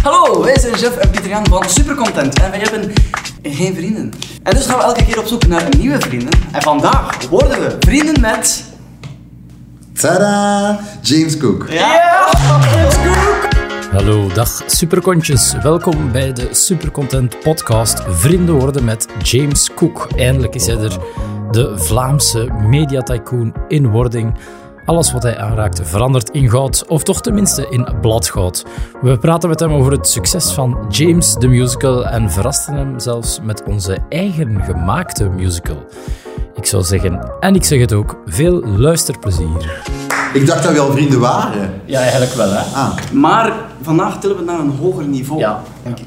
Hallo, wij zijn Jeff en Pieter Jan van Supercontent en wij hebben geen vrienden. En dus gaan we elke keer op zoek naar nieuwe vrienden. En vandaag worden we vrienden met... Tada! James Cook. Ja! Hallo, dag superkontjes. Welkom bij de Supercontent podcast Vrienden worden met James Cook. Eindelijk is hij er, de Vlaamse mediatycoon in wording. Alles wat hij aanraakt verandert in goud, of toch tenminste in bladgoud. We praten met hem over het succes van James the Musical en verrasten hem zelfs met onze eigen gemaakte musical. Ik zou zeggen, en ik zeg het ook, veel luisterplezier. Ik dacht dat we al vrienden waren. Ja, eigenlijk wel hè. Ah, Maar vandaag tillen we naar een hoger Oh, niveau. Ja,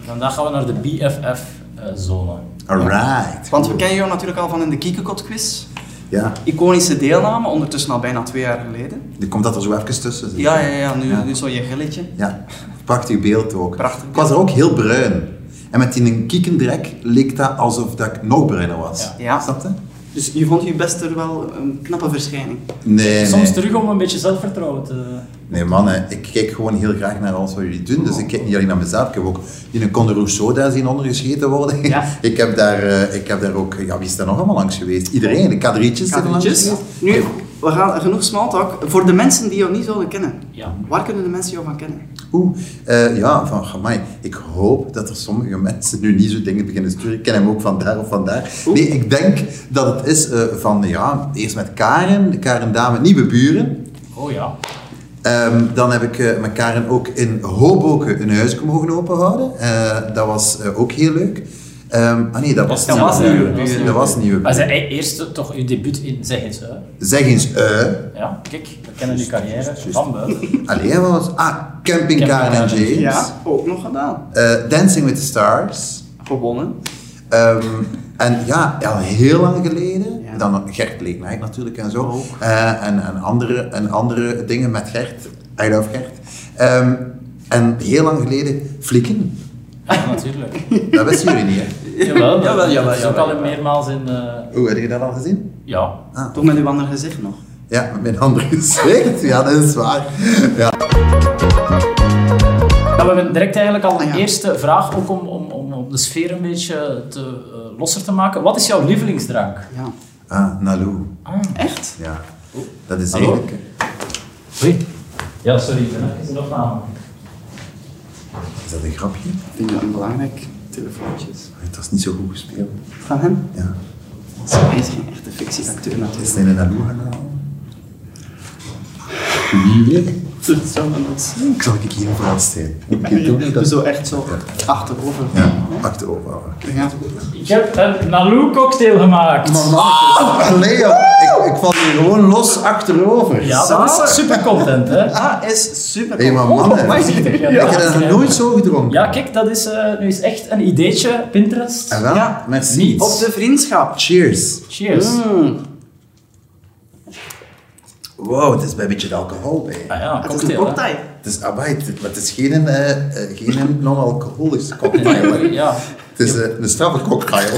vandaag gaan we naar de eh, BFF-zone. alright. Want we kennen jou natuurlijk al van in de Kiekekot quiz. Ja, Iconische deelname, ondertussen al bijna twee jaar geleden. er komt dat er zo even tussen. zeg. Ja, ja, ja, nu, Ja. nu zo je gilletje. Ja, prachtig beeld ook. Prachtig Ik was er ook heel bruin. En met die kiekendrek leek dat alsof dat ik nog bruiner was. Ja. Snap je? Dus je vond je best er wel een knappe verschijning. Nee, Soms nee. terug om een beetje zelfvertrouwen te... Nee, mannen, ik kijk gewoon heel graag naar alles wat jullie doen. Dus ik kijk niet alleen naar mezelf. Ik heb ook in een Conde Rousseau daar zien ondergescheten worden. Ja. ik, heb daar, eh, ik heb daar ook... Ja, wie is daar nog allemaal langs geweest? Iedereen. De kadrietjes zijn er langs Kadrietjes. geweest. Nu, we gaan genoeg smalltalk. Voor de mensen die jou niet zouden kennen, Ja. waar kunnen de mensen jou van kennen? Oeh, eh, ja, van Gamai. Ik hoop dat er sommige mensen nu niet zo dingen beginnen te sturen. Ik ken hem ook van daar of van daar. Nee, ik denk dat het is eh, van, ja, eerst met Karen, Karen Dame, Nieuwe Buren. Oh ja. Ehm, dan heb ik eh, met Karen ook in Hoboken een huis mogen openhouden. Eh, dat was eh, ook heel leuk. Ehm, ah nee, dat was Dat Nieuwe was Buren. Nieuwe Buren. Dat was Nieuwe Maar Buren. zijn e- eerste toch uw debuut in Zeg eens hè? Zeg eens, eh... Ja, kijk, we kennen uw carrière van buiten. Allee, wat was... Ah, Camping Camping Karen en Karen. James. Ja, ook nog gedaan. Eh, Dancing with the Stars. Gewonnen. Ehm, en ja, al heel lang geleden, Ja. dan Gert Leeknaik natuurlijk en zo, Ook. Eh, en, en, andere, en andere dingen met Gert, I love Gert. Ehm, en heel lang geleden Flikken, Ja, natuurlijk. dat wisten jullie niet hè? Jawel, Jawel, dat jawel, is ook jawel. al meermaals in... eh, Hoe, heb je dat al gezien? ja. Toch met uw ander gezicht nog. Ja, met mijn handen gezicht, ja dat is waar. Ja. Nou, we hebben direct eigenlijk al de Ah, ja. eerste vraag, ook om, om, om, om de sfeer een beetje te, eh, losser te maken. Wat is jouw lievelingsdrank? Ja. Ah, Nalu, Echt? ja. Oh. Dat is Hallo? eigenlijk... Oei. Ja, sorry, ik ben even nog aan. Is dat een grapje? Ik vind dat een belangrijk telefoontjes. Het was niet zo goed gespeeld. Van hem? Ja. Zo, Hij is geen echte fictieacteur Is natuurlijk. het een Nalu gaan halen? Wie weet? Dat zou men dat zien. Ik zal ik hier vooraan staan. Moet ik het doen? Ja, Zo echt zo achterover. Ja, oh, pak de overhouden. Ja. Ik heb een Naloo cocktail gemaakt. Allee, joh. ik, ik val hier gewoon los achterover. Ah! Ja, dat is super content, hè? Dat is super. Hé, maar mannen. Oh, ik ik heb dat nog nooit zo gedronken. Ja, kijk, dat is eh, nu is echt een ideetje, Pinterest. Ah, En wel, Ja. merci. Niet. Op de vriendschap. Cheers. Cheers. Mm. Wow, het is bij een beetje de alcohol bij. Ah ja, Het is een cocktail. cocktail. hè. Het is, ah, maar het, maar het is geen, eh, eh, geen non-alcoholische cocktail. hè. Ja. Het is eh, een straffe cocktail.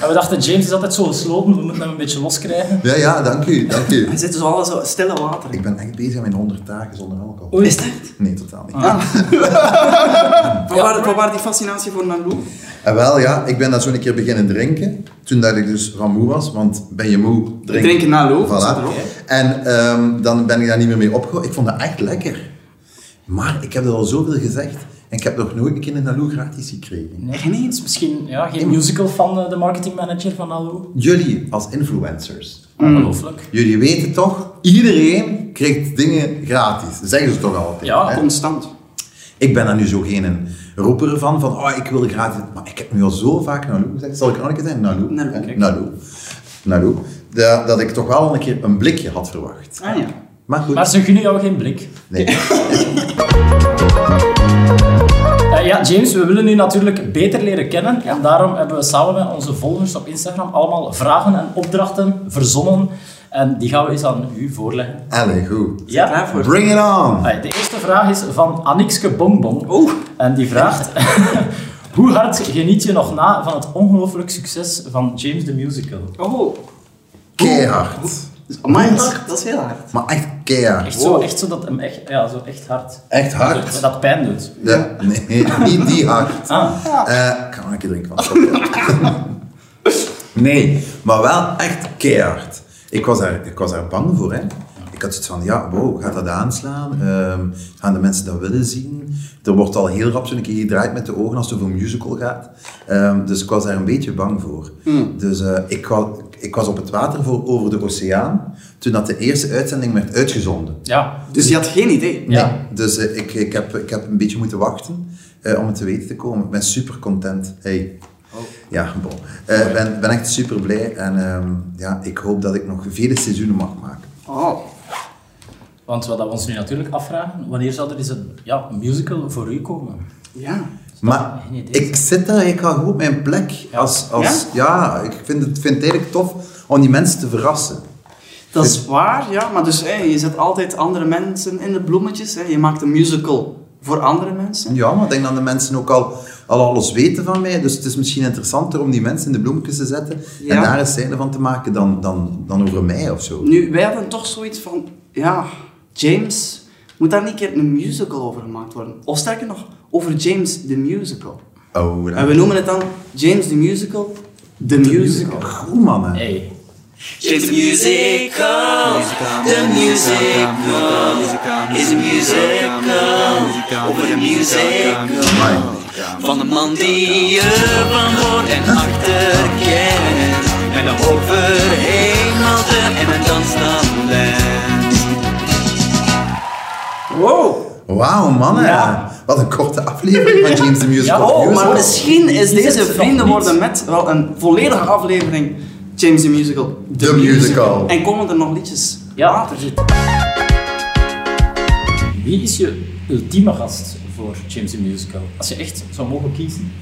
En we dachten, James is altijd zo gesloten, we moeten hem een beetje loskrijgen. Ja, ja, dank u, dank u. Hij zit dus al in zo stille water. Ik ben echt bezig met 100 dagen zonder alcohol. Oei. Is dat? Nee, totaal niet. Waar, waar, waar die fascinatie voor Nalou? En Eh, wel, ja, ik ben dat zo een keer beginnen drinken. Toen dat ik dus van moe was, want ben je moe, drink. Drinken na loof, dat staat Voilà. erop. En ehm, dan ben ik daar niet meer mee opgehouden. Ik vond dat echt lekker. Maar ik heb er al zoveel gezegd. En ik heb nog nooit een keer een Naloo gratis gekregen. Echt niet? Dus misschien ja, geen musical van eh, de marketingmanager van Naloo. Jullie als influencers. Ongelooflijk. Jullie weten toch, iedereen krijgt dingen gratis. Zeggen ze toch altijd. Ja, hè? Constant. Ah, Ik ben daar nu zo geen een roeper van, van oh, ik wil gratis. Maar ik heb nu al zo vaak Naloo gezegd. Zal ik er nog een keer zeggen? Naloo. Naloo, hè? kijk. Naloo. Naloo. Dat, dat ik toch wel een keer een blikje had verwacht. Ah ja. Maar goed. Maar ze gunnen jou geen blik. Nee. Eh, ja, James, we willen u natuurlijk beter leren kennen. En daarom hebben we samen met onze volgers op Instagram allemaal vragen en opdrachten verzonnen. En die gaan we eens aan u voorleggen. Allee, goed. Ja? Klaar voor? Bring it on! Allee, De eerste vraag is van Annikske Bongbong. Oeh. En die vraagt... Hoe hard geniet je nog na van het ongelooflijk succes van James the Musical? Oh. Keihard. Dus, amai, dat is- dat is heel hard. Maar echt keihard. Echt zo, Wow. echt zo dat hem echt, ja, zo echt hard. Echt hard. Dat, dat pijn doet. Ja, nee, niet die hard. Ah, Eh, ik ga maar een keer drinken van het cocktail. Nee, maar wel echt keihard. Ik was daar, ik was daar bang voor. Hè. Ik had zoiets van, ja, wow, gaat dat aanslaan? Ehm, gaan de mensen dat willen zien? Er wordt al heel rap zo'n keer gedraaid met de ogen als het over een musical gaat. Ehm, dus ik was daar een beetje bang voor. Dus eh, ik, wa- ik was op het water voor Over de Oceaan, toen dat de eerste uitzending werd uitgezonden. ja. Dus je had geen idee. Nee, Ja. dus eh, ik, ik, heb, ik heb een beetje moeten wachten eh, om het te weten te komen. Ik ben super content. Hey. Ja, bon. Eh, ben, ben echt super blij en ehm, ja, ik hoop dat ik nog vele seizoenen mag maken. Oh. Want wat we ons nu natuurlijk afvragen, wanneer zou er eens een, ja, een musical voor u komen? Ja. Maar geen idee. ik zit daar, ik ga goed op mijn plek. Als, als, ja? ik vind het, vind het eigenlijk tof om die mensen te verrassen. Dat is waar, ja. Maar dus, hé, je zet altijd andere mensen in de bloemetjes. Hè. Je maakt een musical voor andere mensen. Ja, maar ik denk dat de mensen ook al, al alles weten van mij. Dus het is misschien interessanter om die mensen in de bloemetjes te zetten en Ja. daar een scène van te maken dan, dan, dan over mij of zo. Nu, wij hadden toch zoiets van... Ja, James... Moet daar niet een keer een musical over gemaakt worden? Of sterker nog, over James the Musical. Oh, En we noemen het dan James the Musical... The, musical. Oh, Goed, mannen. Hey. James the Musical, the musical, is the musical, over the musical. Amai. Van de man die je van voor en achter kent. Met een overheen malte en een danstalent. Wow. Wauw, mannen. Ja. Wat een korte aflevering van James the Musical. Ja, Oh, maar Musical. misschien is Die deze zit er nog Vrienden niet. Worden Met wel een volledige aflevering James the Musical. The Musical. En komen er nog liedjes Ja, later? Wie is je ultieme gast voor James the Musical? Als je echt zou mogen kiezen.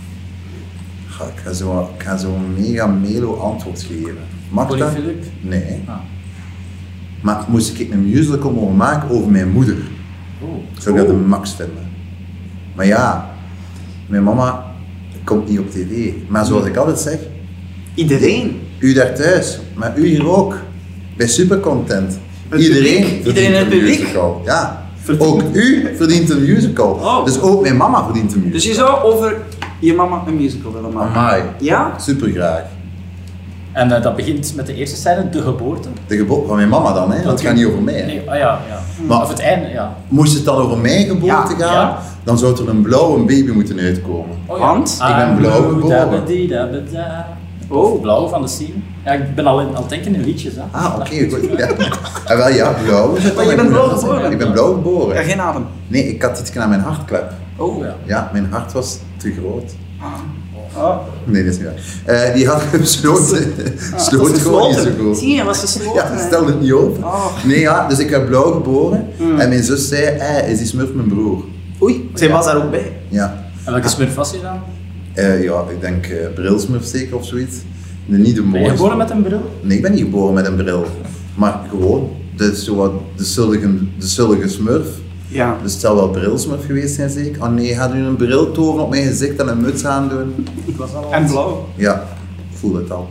Ga, ik ga zo- ik ga zo'n mega melo antwoord geven. Mag Colin dat? Philip? Nee. Ah. Maar moest ik een musical mogen maken over mijn moeder, Oh. zou ik dat een max vinden. Maar ja, mijn mama komt niet op tv. Maar zoals ik altijd zeg, Iedereen. u daar thuis, maar u hier ook. Bij Supercontent. Iedereen publiek. verdient Iedereen in het een publiek. musical. Ja. Ook u verdient een musical. Oh. Dus ook mijn mama verdient een musical. Dus je zou over je mama een musical willen maken? Amai, Dus- Ja? super graag. En eh, dat begint met de eerste scène, de geboorte. De geboorte van mijn mama dan, hè? dat gaat niet over mij. hè. Nee, ah ja, ja. Maar- Of het einde, ja. Moest het dan over mijn geboorte Ja, gaan, ja. dan zou er een blauwe baby moeten uitkomen. Oh, Want? Ik ben Ah, blauw geboren. dabedi, dabeda. Oh. Blauw van de scene. Ja, ik ben al in, aan het denken in liedjes. Hè. Ah, oké. goed. ja. Ah, wel ja, blauw. is het Maar dan, je ik bent moet blauw dat zeggen. geboren. Ik ben blauw Ja, geboren. geen adem. Nee, ik had iets aan mijn hartklep. Oh. Oh, ja. Ja, mijn hart was te groot. Ah. Nee, dat is niet waar. Eh, die had besloten. Sloot gewoon niet zo Gesloten. goed. Ah. Zie je, was gesloten. Ja, stel het niet op. Oh. Nee, ja, dus ik werd blauw geboren. Hmm. En mijn zus zei, eh, is die smurf mijn broer? Oei, zij was daar ook bij. Ja. En welke smurf was je dan? Eh, ja, ik denk eh brilsmurf zeker of zoiets. Nee, niet de Ben je mooiste. geboren met een bril? Nee, ik ben niet geboren met een bril. Maar gewoon, dat is zo wat de zullige, de zullige smurf. Ja. Dus het zou wel brilsmurf geweest zijn zeker. Oh nee, gaat u een bril toveren op mijn gezicht en een muts aandoen? Ik was al En blauw. Ja, ik voel het al.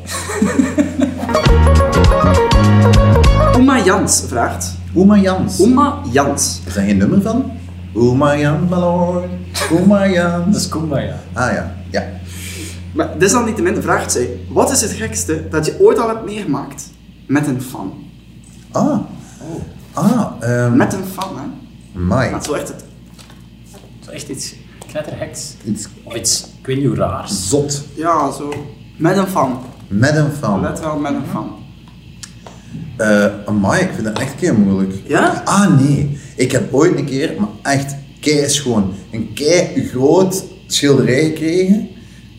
Oma Jans vraagt. Oma Jans. Oma Jans. Is daar geen nummer van? Oma Jan, my lord. Oma Jan. Dat is Kumba, ja. Ah ja, ja. Maar desalniettemin vraagt zij, wat is het gekste dat je ooit al hebt meegemaakt met een fan? Ah. Ah, ehm Met een fan, hè? Mike. Dat is wel echt het... Zo echt iets knetterheks. Iets Of iets, ik weet niet hoe raars. zot. Ja, zo. Met een fan. Met een fan. Let wel, met een fan. Eh amai, ik vind dat echt keer moeilijk. Ja? Ah nee, ik heb ooit een keer, maar echt kei schoon, een kei groot schilderij gekregen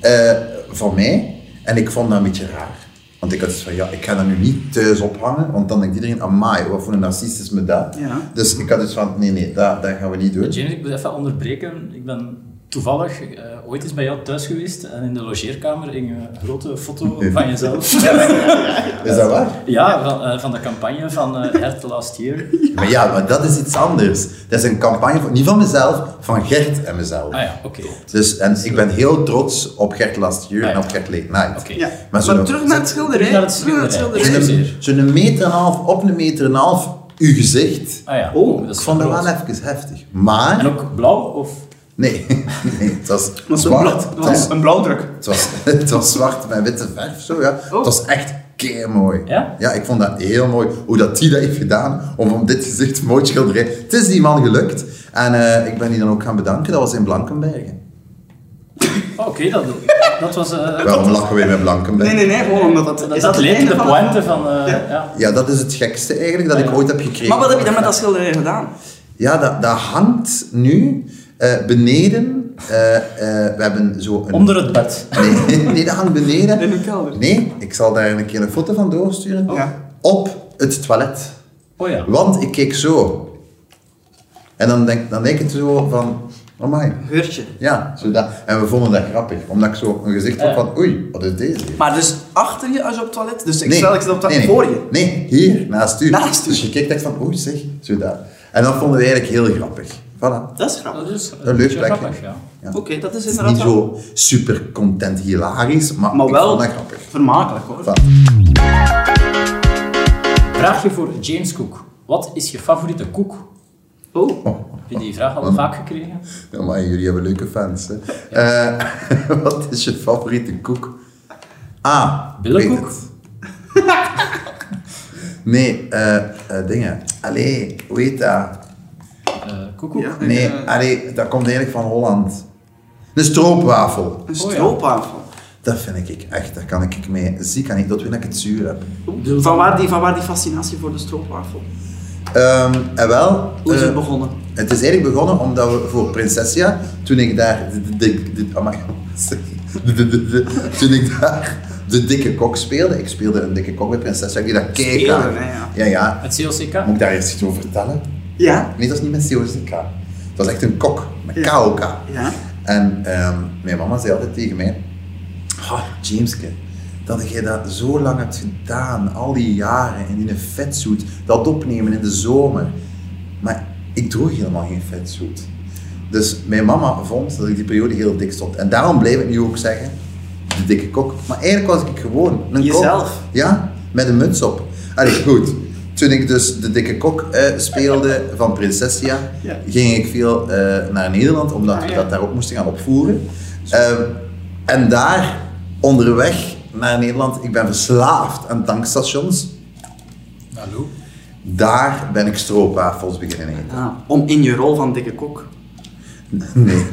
eh, van mij. En ik vond dat een beetje raar. Want ik had zoiets van, ja, ik ga dat nu niet thuis ophangen, want dan denkt iedereen, amai, wat voor een narcist is me dat. Ja. Dus ik had dus van, nee, nee, dat, dat gaan we niet doen. James, ik moet even onderbreken. Ik ben toevallig eh, ooit eens bij jou thuis geweest en in de logeerkamer hing een grote foto van jezelf. Is dat waar? Ja, van, eh, van de campagne van eh Health Last Year. Maar ja, maar dat is iets anders. Dat is een campagne, van, niet van mezelf, van Gert en mezelf. Ah ja, oké. Dus, en ik ben heel trots op Gert Lastier Ah, ja. en op Gert Late Night. Oké. Ja. Maar Maar, zo'n- terug naar het schilderij. Naar het Terug schilderij. schilderij. Excuseer. Zo'n meter en een half, op een meter en een half, uw gezicht. Ah ja, Oh, dat is ik vond dat groot. wel even heftig. Maar... En ook blauw? Of... Nee, nee, het was Dat was een, zwart. blauw, dat was een blauwdruk. Het was, het was zwart met witte verf, zo ja. Oh. Het was echt kei mooi. Ja? ik vond dat heel mooi hoe dat die dat heeft gedaan om van dit gezicht mooi te schilderen. Het is die man gelukt en eh, ik ben die dan ook gaan bedanken. Dat was in Blankenbergen. Oh, oké, dat, dat was... eh, Waarom lachen we met Blankenbergen? Nee, nee, nee, gewoon omdat dat... dat dat het leek einde de van- pointe van... eh, Ja. ja. Ja, dat is het gekste eigenlijk dat ik ooit heb gekregen. Maar wat heb je dan met dat schilderij gedaan? Ja, dat, dat hangt nu eh, beneden. Eh, eh, we hebben zo een... Onder het bed. Nee, nee, dat hangt beneden. In uw kelder? Oh. Nee, ik zal daar een keer een foto van doorsturen. Ja. Op het toilet. Oh ja. Want ik keek zo. En dan denk, dan denk ik zo van, oh my. Heurtje. Ja, zo dat. En we vonden dat grappig, omdat ik zo een gezicht had van, oei, wat is deze? Maar dus achter je als je op het toilet... Dus ik stel, ik zit op het nee, toilet nee. voor je. Nee, hier, naast u. Naast u. Dus je keek echt van, oei zeg, zo dat. En dat vonden we eigenlijk heel grappig. Voilà. Dat is grappig. Dat is dat is Een leuk beetje plekje. grappig, ja. Ja. Oké, dat is Het is niet inderdaad wel- zo super content hilarisch, maar, Maar ik wel vond dat grappig. vermakelijk hoor. Voilà. Vraagje voor James Cook. Wat is je favoriete koek? Oh. Heb je die vraag al vaak gekregen? Ja, maar jullie hebben leuke fans, hè. Eh, wat is je favoriete koek? Ah, Billenkoek? weet het. nee, eh eh, dingen. Allee, hoe heet dat? Eh koekoek? Ja. Nee, allee, dat komt eigenlijk van Holland. Een stroopwafel. Een ja. stroopwafel. Dat vind ik echt, daar kan ik mee ziek aan. Ik dat weet dat ik het zuur heb. Van waar die, van waar die fascinatie voor de stroopwafel? Ehm, en wel... Hoe is eh, het begonnen? Het is eigenlijk begonnen omdat we voor Prinsessia, toen ik daar de, de, de, amai, sorry. de, de, de- de- toen ik daar de dikke kok speelde, ik speelde een dikke kok bij Prinsessia, ik deed dat kijk Spelen, aan. hè, ja. Ja, ja. Het Oh CLCK? Moet ik daar eerst iets over vertellen? Ja. Nee, dat is niet met COCK. Dat was echt een kok, met KOK. Ja. En ehm, mijn mama zei altijd tegen mij, oh, Jameske, dat jij dat zo lang hebt gedaan, al die jaren, in die vetsuit, dat opnemen in de zomer. Maar ik droeg helemaal geen vetsuit. Dus mijn mama vond dat ik die periode heel dik stond. En daarom blijf ik nu ook zeggen, de dikke kok. Maar eigenlijk was ik gewoon een kok. Jezelf. Ja, met een muts op. Allee, goed. Toen ik dus de dikke kok eh, speelde van Prinsessia, Ja. ging ik veel eh, naar Nederland, omdat Ah, we ja. dat daar ook moesten gaan opvoeren. Ehm, en daar, onderweg naar Nederland, ik ben verslaafd aan tankstations. Hallo. Daar ben ik stroopwafels beginnen eten. Ah, om in je rol van dikke kok. Nee,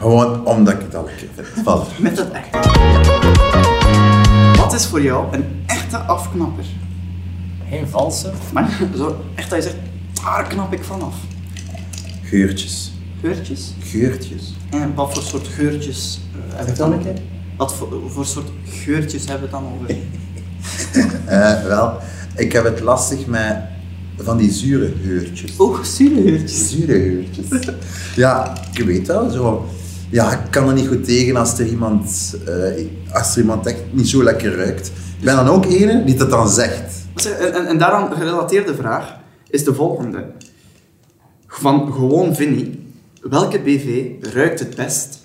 gewoon omdat ik het al keer vind. Voilà. Met het echte. Wat is voor jou een echte afknapper? Geen valse. Maar zo echt dat je zegt, daar knap ik vanaf. Geurtjes. Geurtjes. Geurtjes. En wat voor soort geurtjes eh, hebben we het dat dan een over? Wat voor, voor soort geurtjes hebben we het dan over? Eh, wel, ik heb het lastig met van die zure geurtjes. Ook Oh, zure geurtjes. Zure geurtjes. Ja, ik weet wel zo. Ja, ik kan er niet goed tegen als er iemand, eh, als er iemand echt niet zo lekker ruikt. Ik ben dan ook ene die dat dan zegt. Zeg, En, en, en daaraan gerelateerde vraag is de volgende. Van gewoon Vinnie, welke BV ruikt het best?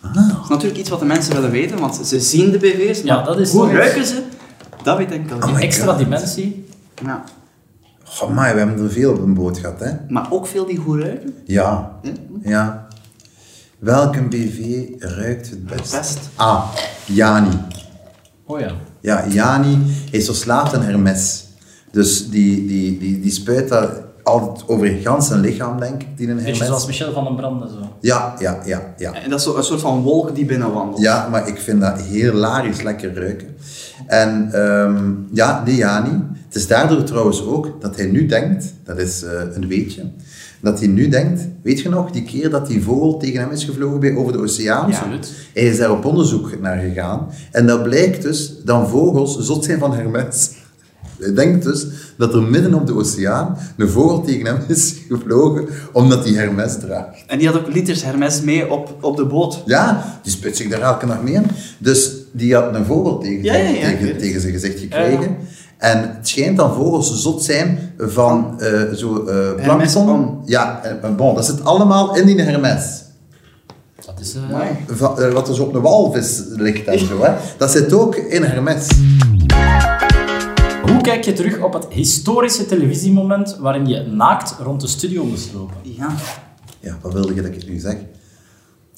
Dat is natuurlijk iets wat de mensen willen weten, want ze zien de BV's, maar Ah. Ja, dat is hoe toch- ruiken ze? Dat weet ik wel. Oh Een my extra God. dimensie. Ja. Goh, maar we hebben er veel op een boot gehad, hè? Maar ook veel die goed ruiken. Ja. Hm? Ja. Welke BV ruikt het best? Best. Ah, Jani. Oh ja. Ja, Jani is verslaafd aan Hermes. Dus die, die, die, die spuit dat altijd over het ganse lichaam, denk ik, die een Beetje zoals Hermes. Michel van den Branden zo. Ja, ja, ja, ja. En dat is zo een soort van wolk die binnenwandelt. Ja, maar ik vind dat hilarisch lekker ruiken. En ehm, ja, die Jani. Het is daardoor trouwens ook dat hij nu denkt, dat is eh, een weetje, dat hij nu denkt, weet je nog, die keer dat die vogel tegen hem is gevlogen bij over de oceaan? Ja. Absoluut. Hij is daar op onderzoek naar gegaan. En dat blijkt dus dat vogels zot zijn van Hermes. Hij denkt dus dat er midden op de oceaan een vogel tegen hem is gevlogen omdat hij Hermes draagt. En die had ook liters Hermes mee op, op de boot. Ja, die spit zich daar elke nacht mee in. Dus die had een vogel tegen, Ja, ja, ja, ik weet tegen, het. tegen zijn gezicht gekregen. En het schijnt dat vogels zot zijn van eh, zo eh plankton. Hermespalm. Ja, eh, bon, dat zit allemaal in die Hermes. Dat is... eh, Amai. Van, eh, wat dus op een walvis ligt en zo. Hè. Dat zit ook in Hermes. Hoe kijk je terug op het historische televisiemoment waarin je naakt rond de studio moest lopen? Ja. Ja, wat wilde je dat ik nu zeg?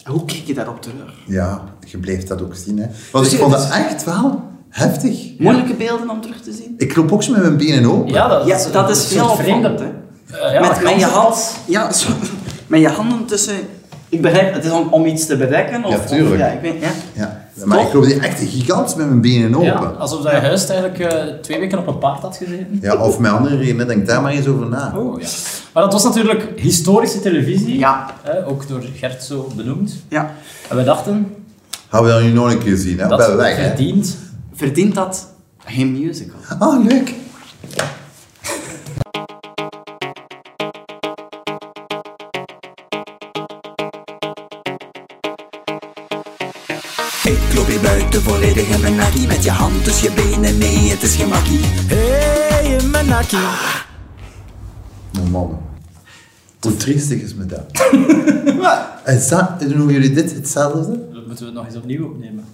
Hoe kijk je daarop terug? Ja, je blijft dat ook zien. Hè. Want Dus ik je- vond dat echt wel heftig. Moeilijke beelden om terug te zien? Ik loop ook zo met mijn benen open. Ja, dat, Ja, is, dat is een soort heel vreemde. opvallend, hè. Eh, ja, dat met, kan met, je zo. hand, ja, zo, met je handen tussen... Ik begrijp, het is om, om iets te bedekken? Of, Ja, tuurlijk. of- ja, ik weet, ja. Ja. Maar ik loop hier echt gigantisch met mijn benen open. Ja, alsof dat je juist eigenlijk eh, twee weken op een paard had gezeten. Ja, of met andere redenen, denk daar maar eens over na. Oh, ja. Maar dat was natuurlijk historische televisie, Ja. hè, ook door Gert zo benoemd. ja. En we dachten, Gaan we dat nu nog een keer zien, hè? dat ben weg, hè? verdient. Verdient dat geen musical? Ah, leuk. Ik loop hier buiten volledig in mijn nakkie Met je hand tussen je benen, nee het is geen makkie Ah. Mijn Oh, man. Hoe triestig is me dat? En sta- doen jullie dit hetzelfde? Dat moeten we het nog eens opnieuw opnemen.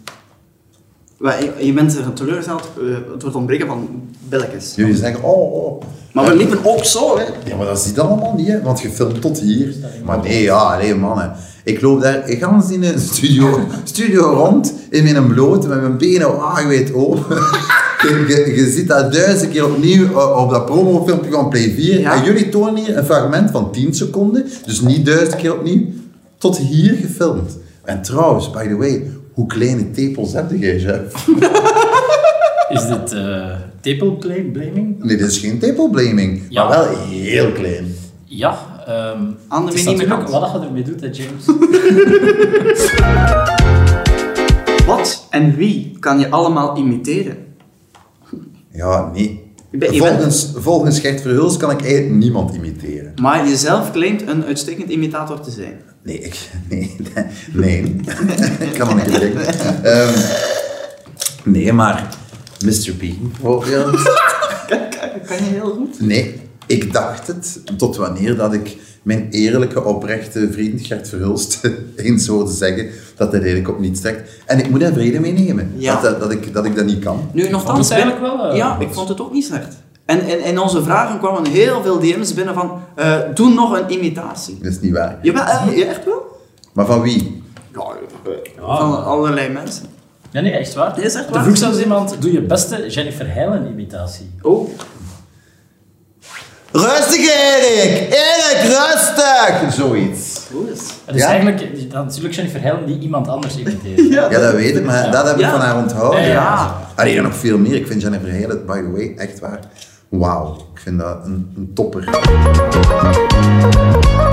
Wel, je- Je bent er teleurgesteld eh, door het ontbreken van billetjes. Jullie zeggen, oh, oh. Maar we liepen ook zo, hè. Ja, maar dat ziet allemaal niet, hè? Want je filmt tot hier. Maar nee, ja, nee, mannen. Ik loop daar ik ga in de studio, studio rond, in mijn bloot, met mijn benen wagenwijd open. Je, je, je ziet dat duizend keer opnieuw eh, op dat promofilmpje van Play 4. Ja. En jullie tonen hier een fragment van 10 seconden, dus niet duizend keer opnieuw, tot hier gefilmd. En trouwens, by the way, hoe kleine tepels heb jij, Jeff? Is dit eh tepelblaming? Nee, dit is geen tepelblaming, Ja. maar wel heel klein. Ja. ehm Aan de het is minime natuurlijk kant. wat je ermee doet, hè, James. Wat en wie kan je allemaal imiteren? Ja, nee. Ik ben- ik ben- volgens, volgens Gert Verhulst kan ik eigenlijk niemand imiteren. Maar jezelf claimt een uitstekend imitator te zijn. Nee, ik, nee, nee. ik kan dat niet denken. Ehm, nee, maar Mr. Bean. bijvoorbeeld. Eh, Kan je heel goed. Nee, ik dacht het tot wanneer dat ik mijn eerlijke, oprechte vriend Gert Verhulst eens hoorde zeggen dat hij eigenlijk op niets trekt. En ik moet daar vrede mee nemen, Ja. dat, dat, dat ik, dat ik dat niet kan. Nu, nogthans... het hè. eigenlijk wel, eh, Ja, ik vond het ook niet slecht. En in, in onze vragen kwamen heel veel DM's binnen van... eh, doe nog een imitatie. Dat is niet waar. Jawel, eh, echt wel? Maar van wie? Ja, Ah, van allerlei mensen. Ja, nee, echt waar. Nee, is echt Er waar. vroeg zelfs iemand, doe je beste Jennifer Heilen-imitatie. Oh. Rustig, Erik! Erik, rustig! Zoiets. Het is Ja? eigenlijk dat natuurlijk Jennifer Heilen die iemand anders imiteert. Ja, dat weet ik, maar Ja. dat heb ik Ja. van haar onthouden. Ja, ja, ja. Allee, en nog veel meer. Ik vind Jennifer Hale, by the way, echt waar. Wauw, ik vind dat een, een topper.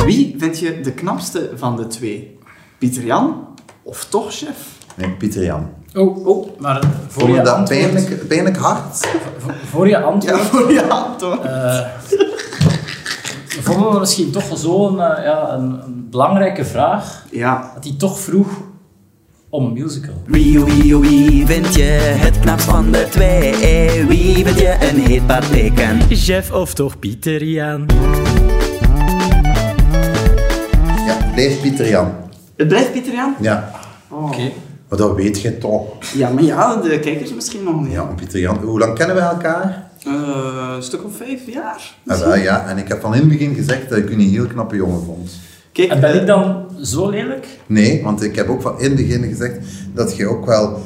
Wie vind je de knapste van de twee? Pieter Jan of toch chef? Nee, Pieter Jan. Oh, oh. Maar voor Vond je je, dat antwoord, pijnlijk, pijnlijk hard? voor je antwoord... voor ja, toch? eh, vonden we misschien toch zo'n eh, ja, een, een belangrijke vraag, Ja. dat hij toch vroeg om een musical. Wie, wie, wie vind je het knapst van de twee? Wie vind je een heet parteken? Jeff of toch Pieter Jan? Ja, blijf Pieter Jan. Het blijft Pieter Jan? Ja, Oh. Oké. maar dat weet je toch. Ja, maar ja, de kijkers misschien nog niet. Ja, en Pieter Jan. Hoe lang kennen we elkaar? Eh, een stuk of vijf jaar? Ah, wel, ja, en ik heb van in het begin gezegd dat ik u een heel knappe jongen vond. Kijk, En ben eh, ik dan zo lelijk? Nee, want ik heb ook van in het begin gezegd dat je ook wel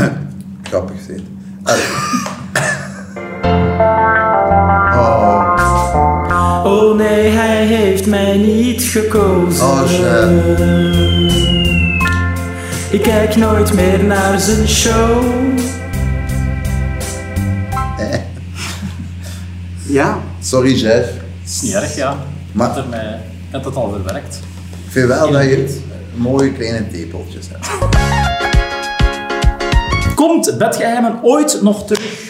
grappig bent. Allee. Oh. Oh nee, hij heeft mij eh, niet gekozen. Oh, chef. Ik kijk nooit meer naar zijn show. Ja. Sorry, Jeff. is niet erg, ja. Maar- Ik had er mij- ik had eh, dat al verwerkt. Ik vind wel In dat het je mooie kleine tepeltjes hebt. Komt Bedgeheimen ooit nog terug?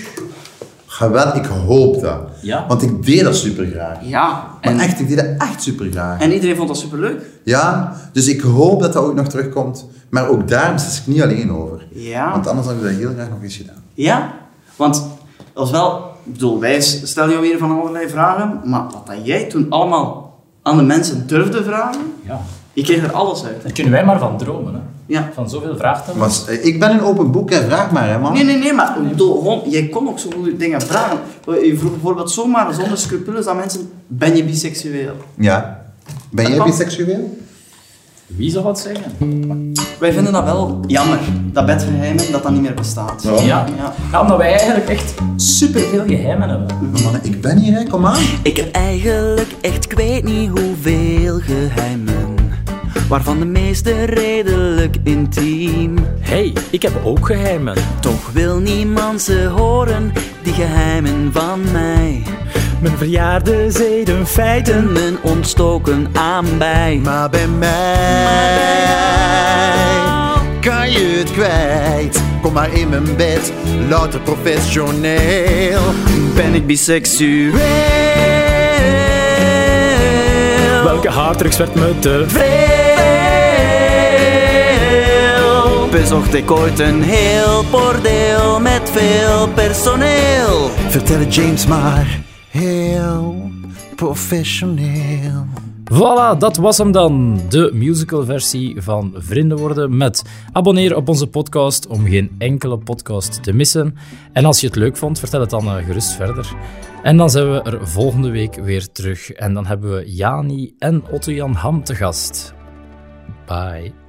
Geweld, ik hoop dat. Ja. Want ik deed dat super graag. Ja, Maar en, echt, ik deed dat echt super graag. en iedereen vond dat superleuk. Ja, dus ik hoop dat dat ook nog terugkomt. Maar ook daar is ik niet alleen over. Ja. Want anders had ik dat heel graag nog eens gedaan. Ja, want dat is wel, ik bedoel, wij stellen jou hier van allerlei vragen, maar wat dat jij toen allemaal aan de mensen durfde vragen, Ja. je kreeg er alles uit. Hè? Daar kunnen wij maar van dromen. Hè. Ja. Van zoveel vraagtellen. Maar eh, ik ben een open boek, hè. vraag maar, hè, man. Nee, nee, nee, maar ik bedoel, gewoon, jij kon ook zo goede dingen vragen. Eh, Je vroeg bijvoorbeeld zomaar zonder scrupules aan mensen, ben je biseksueel? Ja. Ben jij kan. biseksueel? Wie zal dat zeggen? Wij vinden dat wel jammer, dat bedgeheimen, dat dat niet meer bestaat. Ja. Ja. Ja. ja, omdat wij eigenlijk echt superveel geheimen hebben. Mannen, ik ben hier, hè. kom aan. Ik heb eigenlijk echt ik weet niet hoeveel geheimen Waarvan de meeste redelijk intiem Hey, ik heb ook geheimen. Toch wil niemand ze horen, die geheimen van mij Mijn verjaarde zeden feiten. Men ontstoken aan bij Maar bij mij kan je het kwijt. Kom maar in mijn bed, louter professioneel. Ben ik biseksueel Welke harddrugs werd me te Veel Bezocht ik ooit een heel bordeel met veel personeel Vertel het James maar, heel professioneel. Voilà, dat was hem dan. De musicalversie van Vrienden worden met. Abonneer op onze podcast om geen enkele podcast te missen. En als je het leuk vond, vertel het dan eh, gerust verder. En dan zijn we er volgende week weer terug. En dan hebben we Jani en Otto-Jan Ham te gast. Bye.